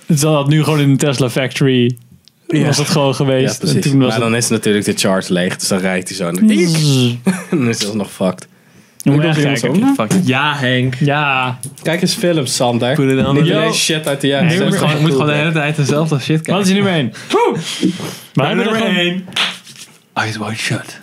[SPEAKER 1] Het zat nu gewoon in de Tesla factory. Was dat gewoon
[SPEAKER 2] Ja,
[SPEAKER 1] geweest. en
[SPEAKER 2] precies.
[SPEAKER 1] toen was
[SPEAKER 2] Maar dan is natuurlijk de charge leeg. Dus dan rijdt hij zo. En dan,
[SPEAKER 1] het... Zzz.
[SPEAKER 2] dan is het nog fucked.
[SPEAKER 1] Moet
[SPEAKER 2] Ik
[SPEAKER 1] echt
[SPEAKER 2] wil
[SPEAKER 1] kijken.
[SPEAKER 2] iemand
[SPEAKER 3] Ja, Henk.
[SPEAKER 1] Ja.
[SPEAKER 2] Kijk eens films, Sander.
[SPEAKER 3] Put it on
[SPEAKER 2] Niet
[SPEAKER 3] the
[SPEAKER 2] alleen
[SPEAKER 1] list.
[SPEAKER 2] shit uit de jaren
[SPEAKER 1] Nee,
[SPEAKER 3] Je moet
[SPEAKER 2] 60.
[SPEAKER 3] gewoon, je moet gewoon de hele tijd dezelfde shit kijken.
[SPEAKER 1] Wat is je nummer 1? Maar hebben we er
[SPEAKER 3] nummer
[SPEAKER 1] gewoon-
[SPEAKER 3] 1? Eyes Wide Shut.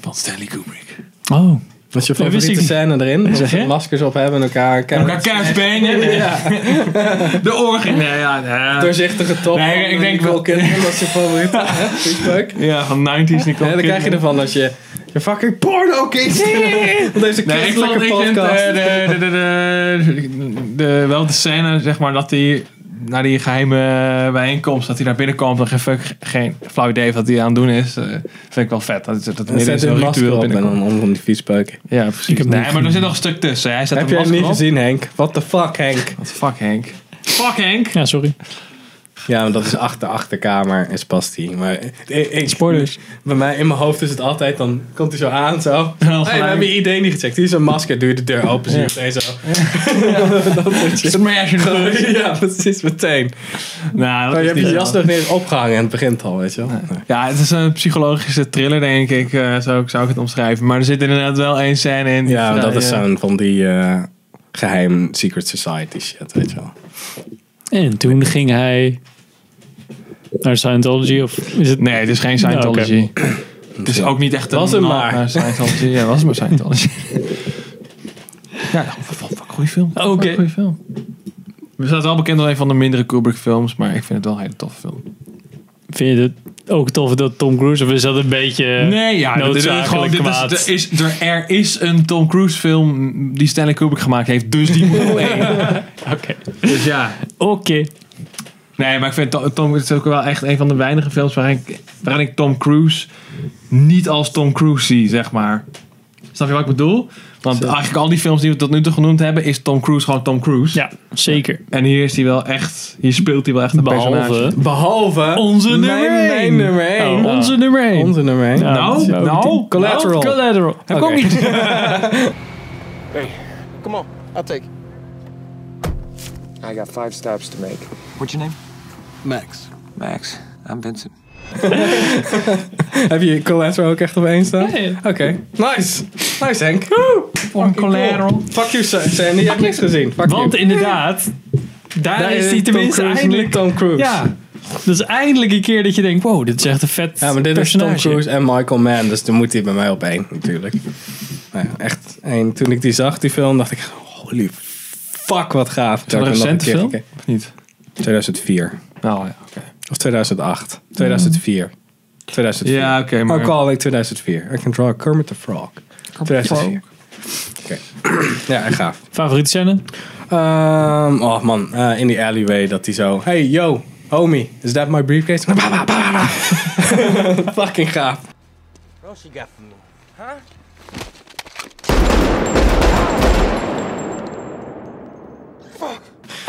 [SPEAKER 3] Van Stanley Kubrick.
[SPEAKER 1] Oh.
[SPEAKER 2] Wat
[SPEAKER 1] wist
[SPEAKER 2] is je
[SPEAKER 1] ik
[SPEAKER 2] favoriete
[SPEAKER 1] niet.
[SPEAKER 2] scène erin? Dat ze
[SPEAKER 1] je?
[SPEAKER 2] maskers op hebben en elkaar...
[SPEAKER 3] Elkaar kerstbenen. De orgie. Nee, ja, nee.
[SPEAKER 2] Doorzichtige top.
[SPEAKER 3] Nee, ik
[SPEAKER 2] van
[SPEAKER 3] denk
[SPEAKER 2] Nicole
[SPEAKER 3] wel-
[SPEAKER 2] Kidman, dat is je favoriet. leuk.
[SPEAKER 3] ja, van 90s Nicole
[SPEAKER 2] Ja, dan krijg je
[SPEAKER 3] Kidman.
[SPEAKER 2] ervan als je, je fucking porno kijkt. *laughs* Op deze
[SPEAKER 3] Nee, ik vond
[SPEAKER 2] christelijke
[SPEAKER 3] ik vind,
[SPEAKER 2] podcast.
[SPEAKER 3] eh, de, de, de, de, de- wel de scène, zeg maar, dat hij naar die geheime bijeenkomst, dat hij daar binnenkomt en geen, fuck, geen flauw idee heeft wat hij aan het doen is. eh, vind ik wel vet. Dat, dat, dat
[SPEAKER 2] dan
[SPEAKER 3] midden
[SPEAKER 2] zet
[SPEAKER 3] in
[SPEAKER 2] hij
[SPEAKER 3] zo'n
[SPEAKER 2] een masker
[SPEAKER 3] ritueel
[SPEAKER 2] op en
[SPEAKER 3] binnenkomt.
[SPEAKER 2] dan om van die viespeuken.
[SPEAKER 3] Ja, precies.
[SPEAKER 1] heb
[SPEAKER 3] nee,
[SPEAKER 1] niet
[SPEAKER 3] maar er zit nog een stuk tussen. Hij zet
[SPEAKER 2] Heb
[SPEAKER 3] een
[SPEAKER 2] jij hem
[SPEAKER 3] masker
[SPEAKER 2] niet
[SPEAKER 3] op.
[SPEAKER 2] gezien, Henk? What the fuck, Henk?
[SPEAKER 3] Wat fuck, Henk. Fuck, Henk!
[SPEAKER 1] Ja, sorry.
[SPEAKER 2] Ja, maar dat is achter achterkamer en past hij. Maar ik, ik-
[SPEAKER 1] Spoilers.
[SPEAKER 2] Bij mij in mijn hoofd is het altijd, dan komt hij zo aan zo.
[SPEAKER 3] gelijk.
[SPEAKER 2] hey, we hebben je idee niet gecheckt. Hier is een masker, doe je de deur open, zie je meteen zo. Dat is het.
[SPEAKER 3] Smash and *laughs* push.
[SPEAKER 2] Ja, precies, meteen.
[SPEAKER 3] Nou,
[SPEAKER 2] Maar
[SPEAKER 3] dat
[SPEAKER 2] je
[SPEAKER 3] is
[SPEAKER 2] hebt je
[SPEAKER 3] niet
[SPEAKER 2] Dus jas nog niet eens opgehangen en het begint al, weet je wel. Nee.
[SPEAKER 3] Ja, het is een psychologische thriller, denk ik. eh, zou, ik- zou ik het omschrijven. Maar er zit inderdaad wel één scène in. die
[SPEAKER 2] Ja,
[SPEAKER 3] vertelt-
[SPEAKER 2] dat is zo'n van die eh, geheim secret society shit, weet je wel.
[SPEAKER 1] En toen ging hij naar Scientology of is het...
[SPEAKER 3] Nee, het is geen Scientology.
[SPEAKER 1] Nou,
[SPEAKER 3] Het is ook niet echt een
[SPEAKER 2] Was het
[SPEAKER 3] nod
[SPEAKER 2] maar.
[SPEAKER 3] naar Scientology. Ja, was het maar Scientology. ja, wat, wat, wat een goede film. Wat een
[SPEAKER 1] Oké.
[SPEAKER 3] goede film. We staat wel bekend als een van de mindere Kubrick films, maar ik vind het wel een hele toffe film.
[SPEAKER 1] Vind je het ook tof dat Tom Cruise of is dat een beetje
[SPEAKER 3] Nee, ja, dit is gewoon,
[SPEAKER 1] noodzakelijk
[SPEAKER 3] dit is,
[SPEAKER 1] kwaad?
[SPEAKER 3] er, is, er, er is een Tom Cruise film die Stanley Kubrick gemaakt heeft, dus die moet op één.
[SPEAKER 1] Oké.
[SPEAKER 3] Dus ja.
[SPEAKER 1] Oké.
[SPEAKER 3] Nee, maar ik vind Tom, Tom het is ook wel echt een van de weinige films waarin ik, waarin ik Tom Cruise niet als Tom Cruise zie, zeg maar. Snap je wat ik bedoel? Want eigenlijk al die films die we tot nu toe genoemd hebben, is Tom Cruise gewoon Tom Cruise.
[SPEAKER 1] Ja, zeker.
[SPEAKER 3] En hier is hij wel echt, hier speelt hij wel echt een personage.
[SPEAKER 1] Behalve
[SPEAKER 2] Behalve
[SPEAKER 1] onze nummer
[SPEAKER 2] mijn, mijn
[SPEAKER 1] één.
[SPEAKER 2] nummer 1.
[SPEAKER 1] Oh, onze nummer 1.
[SPEAKER 2] Onze nummer 1.
[SPEAKER 1] Ja, dat is ook
[SPEAKER 3] nou,
[SPEAKER 1] die-
[SPEAKER 2] Collateral.
[SPEAKER 1] Collateral.
[SPEAKER 2] Oké.
[SPEAKER 6] Hey, come on.
[SPEAKER 8] I'll take it.
[SPEAKER 9] I got five stops to make.
[SPEAKER 6] What's your name?
[SPEAKER 8] Max.
[SPEAKER 9] Max, I'm Vincent.
[SPEAKER 2] Heb je collateral ook echt op één staan?
[SPEAKER 1] Nee.
[SPEAKER 2] Oké. Nice. Nice, Henk.
[SPEAKER 3] Van Collateral.
[SPEAKER 2] Fuck you, Sa- Sandy. Je hebt niks gezien. Fuck
[SPEAKER 1] Want
[SPEAKER 2] you.
[SPEAKER 1] inderdaad, daar,
[SPEAKER 2] Daar
[SPEAKER 1] is hij
[SPEAKER 2] Tom
[SPEAKER 1] tenminste
[SPEAKER 2] Cruise,
[SPEAKER 1] eindelijk...
[SPEAKER 2] Tom Cruise.
[SPEAKER 1] Ja, dat is eindelijk een keer dat je denkt, wow, dit is echt een vet
[SPEAKER 2] Ja, maar dit
[SPEAKER 1] personage.
[SPEAKER 2] is Tom Cruise en Michael Mann, dus dan moet hij bij mij op één, natuurlijk. Nou ja, echt één. Toen ik die zag, die film, dacht ik, holy fuck, wat gaaf. Toen
[SPEAKER 3] een
[SPEAKER 2] heb ik hem nog
[SPEAKER 3] recente
[SPEAKER 2] keer
[SPEAKER 3] film?
[SPEAKER 2] gekeken.
[SPEAKER 3] Of niet?
[SPEAKER 2] 2004.
[SPEAKER 3] Nou ja, oké.
[SPEAKER 2] Of 2008. 2004. 2004.
[SPEAKER 3] Ja, oké, maar-
[SPEAKER 2] I'll Oh, call it 2004. I can draw a Kermit the Frog. 2004. Oké. ja, echt gaaf.
[SPEAKER 1] Favoriete scène?
[SPEAKER 2] Ehm, oh man, eh, in die alleyway dat hij zo... Hey, yo, homie, is that my briefcase? *laughs* Fucking gaaf.
[SPEAKER 9] What else you got for me?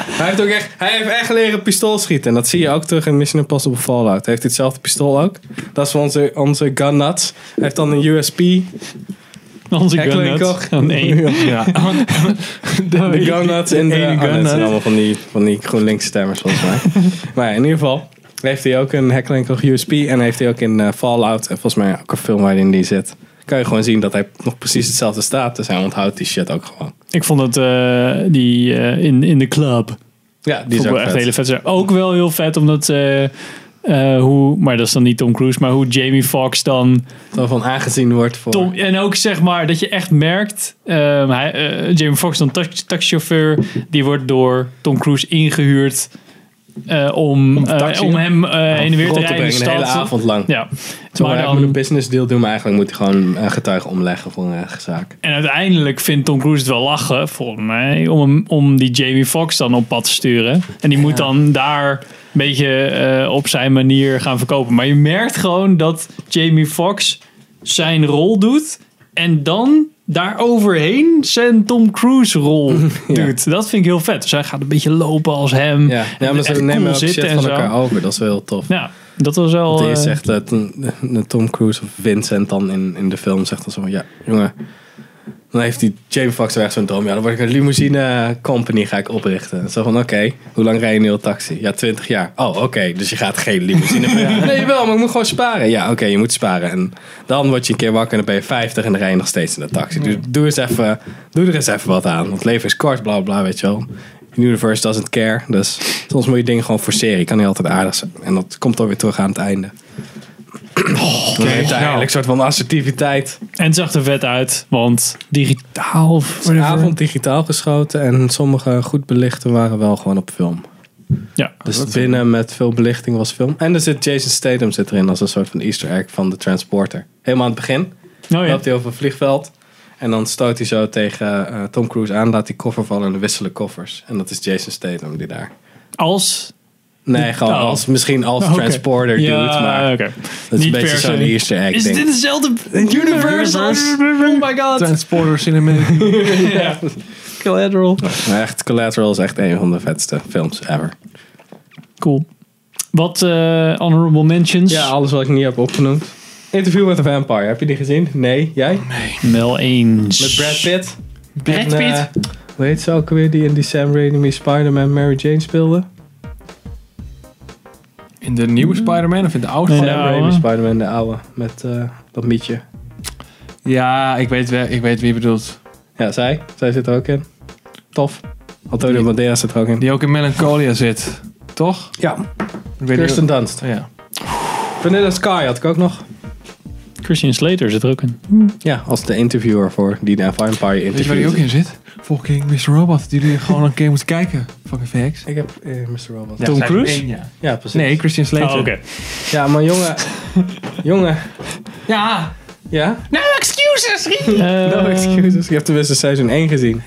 [SPEAKER 2] Hij heeft ook echt, hij heeft echt leren pistool schieten. En dat zie je ook terug in Mission Impossible Fallout. Hij heeft hetzelfde pistool ook. Dat is voor onze, onze gun nuts. Hij heeft dan een
[SPEAKER 1] *laughs*
[SPEAKER 2] USP.
[SPEAKER 1] Onze
[SPEAKER 2] Heckling
[SPEAKER 1] Gunnut.
[SPEAKER 2] Koch.
[SPEAKER 1] Oh,
[SPEAKER 2] *laughs*
[SPEAKER 1] nee.
[SPEAKER 3] Ja.
[SPEAKER 2] De gun nuts in de...
[SPEAKER 3] ene
[SPEAKER 2] oh,
[SPEAKER 3] gun
[SPEAKER 2] dat zijn
[SPEAKER 3] nut.
[SPEAKER 2] allemaal van die, van die GroenLinks stemmers volgens mij.
[SPEAKER 1] *laughs*
[SPEAKER 2] maar ja, in ieder geval heeft hij ook een Heckling Koch USP. En heeft hij ook in eh, Fallout. En volgens mij ook een film waarin die zit. Kan je gewoon zien dat hij nog precies hetzelfde staat. Dus hij onthoudt die shit ook gewoon.
[SPEAKER 1] Ik vond dat eh, die eh, in, in de club...
[SPEAKER 2] Ja,
[SPEAKER 1] Vond
[SPEAKER 2] die
[SPEAKER 1] ik
[SPEAKER 2] is ook
[SPEAKER 1] wel echt
[SPEAKER 2] vet.
[SPEAKER 1] hele vet. zijn. Ook wel heel vet, omdat eh, eh, hoe, maar dat is dan niet Tom Cruise, maar hoe Jamie Foxx dan
[SPEAKER 2] Waarvan aangezien wordt voor...
[SPEAKER 1] Tom, en ook zeg maar dat je echt merkt, ehm, hij, eh, Jamie Foxx dan tax- taxichauffeur, die wordt door Tom Cruise ingehuurd eh, om,
[SPEAKER 2] de taxi-
[SPEAKER 1] eh, om hem eh, heen en weer
[SPEAKER 2] rond
[SPEAKER 1] te rijden in
[SPEAKER 2] te
[SPEAKER 1] de
[SPEAKER 2] brengen,
[SPEAKER 1] stad.
[SPEAKER 2] de hele avond lang.
[SPEAKER 1] Ja.
[SPEAKER 2] Maar
[SPEAKER 1] Maar
[SPEAKER 2] hij moet een
[SPEAKER 1] dan,
[SPEAKER 2] business deal doen, maar eigenlijk moet hij gewoon eh, getuigen omleggen voor een rechtszaak.
[SPEAKER 1] en uiteindelijk vindt Tom Cruise het wel lachen, volgens mij, om, hem- om die Jamie Foxx dan op pad te sturen. En die moet dan daar een beetje eh, op zijn manier gaan verkopen. Maar je merkt gewoon dat Jamie Foxx zijn rol doet en dan daar overheen zijn Tom Cruise
[SPEAKER 2] *laughs*
[SPEAKER 1] rol doet. Dat vind ik heel vet. Dus hij gaat een beetje lopen als hem.
[SPEAKER 2] Ja, ja maar
[SPEAKER 1] Echt
[SPEAKER 2] ze nemen
[SPEAKER 1] cool
[SPEAKER 2] ook shit
[SPEAKER 1] zitten en
[SPEAKER 2] van
[SPEAKER 1] zo.
[SPEAKER 2] elkaar over. Dat is wel heel tof.
[SPEAKER 1] Ja, dat was wel...
[SPEAKER 2] Want eerst
[SPEAKER 1] eh,
[SPEAKER 2] zegt eh, toen- eh, Tom Cruise of Vincent dan in, in de film zegt dan zo van, ja, jongen. Dan heeft die James Fox echt zo'n droom. Ja, dan word ik een limousine company ga ik oprichten. Zo van, oké, hoe lang rij je nu al taxi? Ja, 20 jaar. Oh, oké, dus je gaat geen limousine meer. Nee, wel, maar ik moet gewoon sparen. Ja, oké, je moet sparen. En dan word je een keer wakker en dan ben je 50 en dan rij je nog steeds in de taxi. Dus doe, eens even, doe er eens even wat aan. Want het leven is kort, bla bla, weet je wel. Universe doesn't care. Dus soms moet je dingen gewoon forceren. Je kan niet altijd aardig zijn. En dat komt dan weer terug aan het einde. *clears throat* Oké, uiteindelijk een soort van assertiviteit.
[SPEAKER 1] En het zag er vet uit, want digitaal of
[SPEAKER 2] De
[SPEAKER 1] whatever.
[SPEAKER 2] avond digitaal geschoten en sommige goed belichte waren wel gewoon op film.
[SPEAKER 1] Ja,
[SPEAKER 2] Dus binnen met veel belichting was film. En er zit Jason Statham zit erin als een soort van easter egg van de Transporter. Helemaal aan het begin
[SPEAKER 1] nou ja.
[SPEAKER 2] loopt hij over een vliegveld. En dan stoot hij zo tegen eh, Tom Cruise aan, laat die koffer vallen en dan wisselen koffers. En dat is Jason Statham die daar.
[SPEAKER 1] als...
[SPEAKER 2] Nee, gewoon
[SPEAKER 1] oh.
[SPEAKER 2] als, misschien als
[SPEAKER 1] oké.
[SPEAKER 2] Transporter doet,
[SPEAKER 1] ja,
[SPEAKER 2] maar
[SPEAKER 1] oké.
[SPEAKER 2] dat is een
[SPEAKER 1] Niet
[SPEAKER 2] beetje
[SPEAKER 1] per
[SPEAKER 2] zo'n
[SPEAKER 1] se.
[SPEAKER 2] easter egg
[SPEAKER 1] Is
[SPEAKER 2] ding.
[SPEAKER 1] dit dezelfde
[SPEAKER 2] universe?
[SPEAKER 1] Oh my god.
[SPEAKER 3] Transporter Cinematic.
[SPEAKER 1] Collateral.
[SPEAKER 2] Maar echt, Collateral is echt een van de vetste films ever.
[SPEAKER 1] Cool. Wat eh, honorable mentions?
[SPEAKER 2] Ja, alles wat ik niet heb opgenoemd. Interview with a Vampire, heb je die gezien? Nee, jij?
[SPEAKER 1] Wel eens.
[SPEAKER 2] Met Brad Pitt.
[SPEAKER 3] Oh, Brad
[SPEAKER 2] En, eh, hoe heet ze ook weer die in die Sam Raimi Spider-Man Mary Jane speelde?
[SPEAKER 3] *laughs* In de nieuwe Spider-Man of in de oude
[SPEAKER 1] Nee,
[SPEAKER 2] Sam
[SPEAKER 1] de
[SPEAKER 3] Spider-Man?
[SPEAKER 1] oude.
[SPEAKER 2] Raimi Spider-Man, de oude, met eh, dat mietje.
[SPEAKER 3] Ja, ik weet, wel- ik weet wie je bedoelt.
[SPEAKER 2] Ja, zij. Zij zit er ook in. Tof. Antonio
[SPEAKER 3] Die-
[SPEAKER 2] Banderas zit er ook in.
[SPEAKER 3] Die ook in Melancholia zit. Toch?
[SPEAKER 2] Ja,
[SPEAKER 3] Ik weet
[SPEAKER 2] Kirsten
[SPEAKER 3] niet
[SPEAKER 2] Dunst.
[SPEAKER 3] hoe- Ja.
[SPEAKER 2] Vanilla Sky had ik ook nog.
[SPEAKER 1] Christian Slater zit er ook in.
[SPEAKER 2] Ja, als de interviewer voor die de Vampire interviewt.
[SPEAKER 3] Weet je waar die ook in zit? Fucking Mr. Robot, die jullie gewoon een keer moeten kijken. Fucking VX.
[SPEAKER 2] Ik heb eh, Mr. Robot.
[SPEAKER 3] Ja,
[SPEAKER 2] Ja,
[SPEAKER 1] Tom
[SPEAKER 3] zij
[SPEAKER 1] Cruise?
[SPEAKER 3] doet één, ja.
[SPEAKER 2] precies.
[SPEAKER 3] Nee, Christian Slater.
[SPEAKER 1] Oh, oké.
[SPEAKER 2] *laughs* Ja, maar
[SPEAKER 3] *laughs*
[SPEAKER 2] jongen. jongen.
[SPEAKER 3] Ja!
[SPEAKER 2] Ja?
[SPEAKER 3] No excuses, Rie!
[SPEAKER 1] Eh,
[SPEAKER 2] No excuses. Je hebt Dus tenminste seizoen 1 gezien.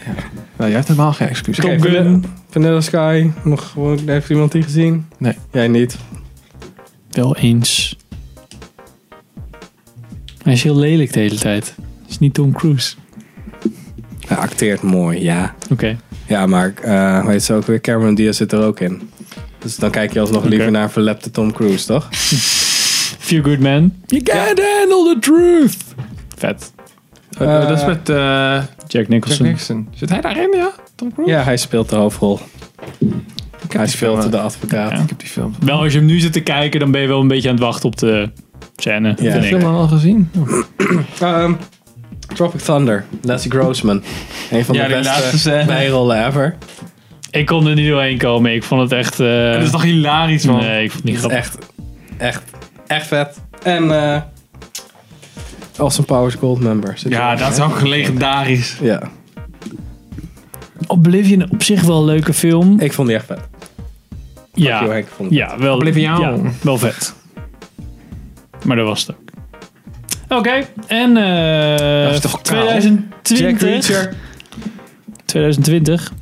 [SPEAKER 3] Nou, jij hebt helemaal geen excuses.
[SPEAKER 2] Oké, Vanilla- Vanilla Sky. Nog, gewoon- heeft iemand die gezien?
[SPEAKER 3] Nee.
[SPEAKER 2] Jij niet.
[SPEAKER 1] Wel eens. Hij is heel lelijk de hele tijd. Het is niet Tom Cruise.
[SPEAKER 2] Hij acteert mooi, ja.
[SPEAKER 1] Oké.
[SPEAKER 2] Ja, maar eh weet je ook weer, Cameron Diaz zit er ook in. Dus dan kijk je alsnog liever naar een verlepte Tom Cruise, toch?
[SPEAKER 1] Feel Good Man. You can't handle the truth. Vet.
[SPEAKER 2] Oh,
[SPEAKER 3] Eh, dat is met eh
[SPEAKER 1] Jack
[SPEAKER 3] Jack
[SPEAKER 1] Nicholson.
[SPEAKER 3] Nixon. Zit hij daarin, ja? Tom Cruise?
[SPEAKER 2] Ja, hij speelt de hoofdrol.
[SPEAKER 3] ik heb
[SPEAKER 2] Hij
[SPEAKER 3] die film,
[SPEAKER 2] speelt
[SPEAKER 3] eh,
[SPEAKER 2] de advocaat.
[SPEAKER 1] Ja.
[SPEAKER 2] Ja,
[SPEAKER 3] Ik heb die film.
[SPEAKER 1] Wel, als je hem nu zit te kijken, dan ben je wel een beetje aan het wachten op de scène.
[SPEAKER 2] Ja.
[SPEAKER 1] vind
[SPEAKER 3] Ik
[SPEAKER 1] ik.
[SPEAKER 3] heb hem al gezien.
[SPEAKER 2] Ehm, Tropic Thunder, Leslie Grossman. Een van
[SPEAKER 3] Ja,
[SPEAKER 2] de
[SPEAKER 3] die laatste
[SPEAKER 2] beste
[SPEAKER 3] scène.
[SPEAKER 2] bijrollen ever.
[SPEAKER 1] Ik kon er niet doorheen komen. Ik vond het echt... eh,
[SPEAKER 3] Dat is toch hilarisch, man.
[SPEAKER 1] nee, ik vond het niet grappig.
[SPEAKER 2] Echt, echt, echt vet. En eh Austin Powers Gold member. zit
[SPEAKER 3] Ja,
[SPEAKER 2] er
[SPEAKER 3] dat is
[SPEAKER 2] hè?
[SPEAKER 3] ook legendarisch.
[SPEAKER 2] Ja,
[SPEAKER 1] Oblivion op zich wel een leuke film.
[SPEAKER 2] ik vond die echt vet. Joe
[SPEAKER 1] ja,
[SPEAKER 2] Henk vond het
[SPEAKER 1] ja, wel,
[SPEAKER 3] Oblivion.
[SPEAKER 1] ja, wel vet. Maar dat was het ook. Oké, en eh,
[SPEAKER 3] Dat is toch kaal?
[SPEAKER 2] Jack
[SPEAKER 1] 2020,
[SPEAKER 2] Reacher,
[SPEAKER 1] 2020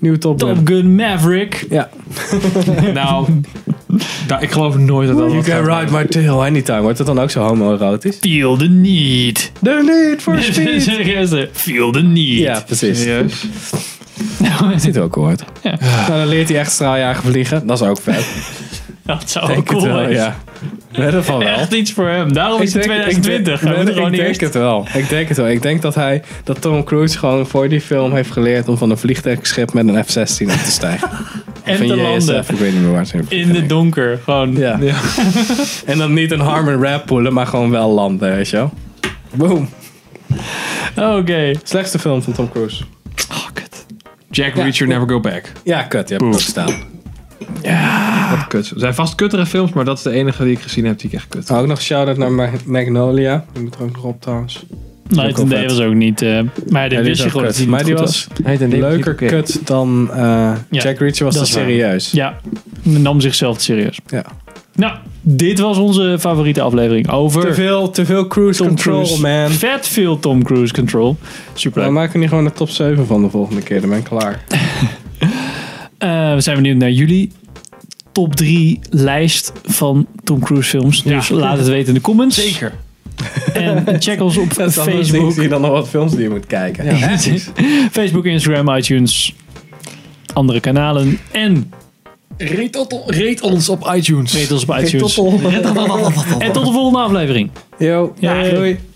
[SPEAKER 2] nieuwe Top
[SPEAKER 1] Top
[SPEAKER 2] Gun.
[SPEAKER 1] Gun
[SPEAKER 2] *laughs*
[SPEAKER 1] Maverick.
[SPEAKER 2] Ja.
[SPEAKER 3] Nou, nou, ik geloof nooit dat dat
[SPEAKER 2] You
[SPEAKER 3] wat
[SPEAKER 2] can
[SPEAKER 3] gaat
[SPEAKER 2] ride my tail anytime. Wordt dat dan ook zo homoerotisch?
[SPEAKER 1] Feel the need.
[SPEAKER 2] The
[SPEAKER 1] *laughs*
[SPEAKER 2] need
[SPEAKER 3] *laughs*
[SPEAKER 2] for speed.
[SPEAKER 1] Serieus, hè? Feel the need.
[SPEAKER 2] ja, precies. Dat
[SPEAKER 3] Serieus?
[SPEAKER 1] *laughs*
[SPEAKER 2] zit ook gehoord.
[SPEAKER 1] Ja.
[SPEAKER 2] Nou, dan leert hij echt straaljagen vliegen. Dat is ook
[SPEAKER 3] Oh,
[SPEAKER 2] vet.
[SPEAKER 1] Nou, Dat zou
[SPEAKER 2] Denk
[SPEAKER 1] ook cool
[SPEAKER 2] het wel,
[SPEAKER 1] zijn.
[SPEAKER 2] ja. Wedden van wel.
[SPEAKER 1] Echt iets voor hem. Daarom Oh, is het
[SPEAKER 2] denk-
[SPEAKER 1] 2020. Hij
[SPEAKER 2] ik,
[SPEAKER 1] moet
[SPEAKER 2] denk-
[SPEAKER 1] er gewoon
[SPEAKER 2] ik denk
[SPEAKER 1] eerst-
[SPEAKER 2] het wel. Ik denk het wel. Ik denk dat hij, dat Tom Cruise gewoon voor die film heeft geleerd om van een vliegtuigschip met een F-16 op te stijgen.
[SPEAKER 1] *laughs* En
[SPEAKER 2] Van
[SPEAKER 1] te
[SPEAKER 2] JSF,
[SPEAKER 1] landen.
[SPEAKER 2] ik weet niet meer waar ze
[SPEAKER 1] In de donker. Gewoon.
[SPEAKER 2] Ja. *laughs* en dan niet een Harmon Rap poelen, maar gewoon wel landen, weet je wel. Boom.
[SPEAKER 1] oh, Oké.
[SPEAKER 2] Slechtste film van Tom Cruise.
[SPEAKER 1] Oh, kut.
[SPEAKER 3] Jack Reacher Never Go Back.
[SPEAKER 2] Ja, kut. Je hebt het ook staan.
[SPEAKER 3] Wat kut. Er zijn vast kuttere films, maar dat is de enige die ik gezien heb die ik echt kut.
[SPEAKER 2] Ook nog shout-out naar Mag- Magnolia. Die moet er ook nog op trouwens.
[SPEAKER 1] Night and
[SPEAKER 2] wel
[SPEAKER 1] Day
[SPEAKER 2] vet.
[SPEAKER 1] was ook niet. eh, maar dit
[SPEAKER 2] Ja, die
[SPEAKER 1] wist
[SPEAKER 2] is
[SPEAKER 1] je
[SPEAKER 2] ook
[SPEAKER 1] gewoon
[SPEAKER 2] kut.
[SPEAKER 1] dat hij
[SPEAKER 2] Maar
[SPEAKER 1] niet
[SPEAKER 2] die
[SPEAKER 1] goed
[SPEAKER 2] was
[SPEAKER 3] Heet een
[SPEAKER 2] leuker kut dan eh, Jack Reacher
[SPEAKER 1] dat
[SPEAKER 2] was dat
[SPEAKER 1] is waar.
[SPEAKER 2] serieus.
[SPEAKER 1] Ja, men nam zichzelf te serieus.
[SPEAKER 2] Ja.
[SPEAKER 1] Nou, dit was onze favoriete aflevering
[SPEAKER 2] Te
[SPEAKER 1] over
[SPEAKER 2] veel, te veel cruise
[SPEAKER 1] Tom
[SPEAKER 2] control,
[SPEAKER 1] Cruise.
[SPEAKER 2] man.
[SPEAKER 1] Vet veel Tom Cruise Control. Super
[SPEAKER 2] We maken nu gewoon de top 7 van de volgende keer. Dan ben ik klaar.
[SPEAKER 1] Eh, we zijn benieuwd naar jullie top 3 lijst van Tom Cruise films. Dus laat het weten in de comments. Zeker. En check ons op
[SPEAKER 2] *laughs* Dat is dan
[SPEAKER 1] Facebook.
[SPEAKER 2] Zie je dan nog wat films die je moet kijken. Ja.
[SPEAKER 1] *laughs* Facebook, Instagram, iTunes, andere kanalen. En
[SPEAKER 3] Reed, on- reed ons op iTunes. *laughs*
[SPEAKER 1] meet ons op iTunes. En tot de volgende aflevering.
[SPEAKER 2] Yo,
[SPEAKER 1] Ja.
[SPEAKER 2] doei.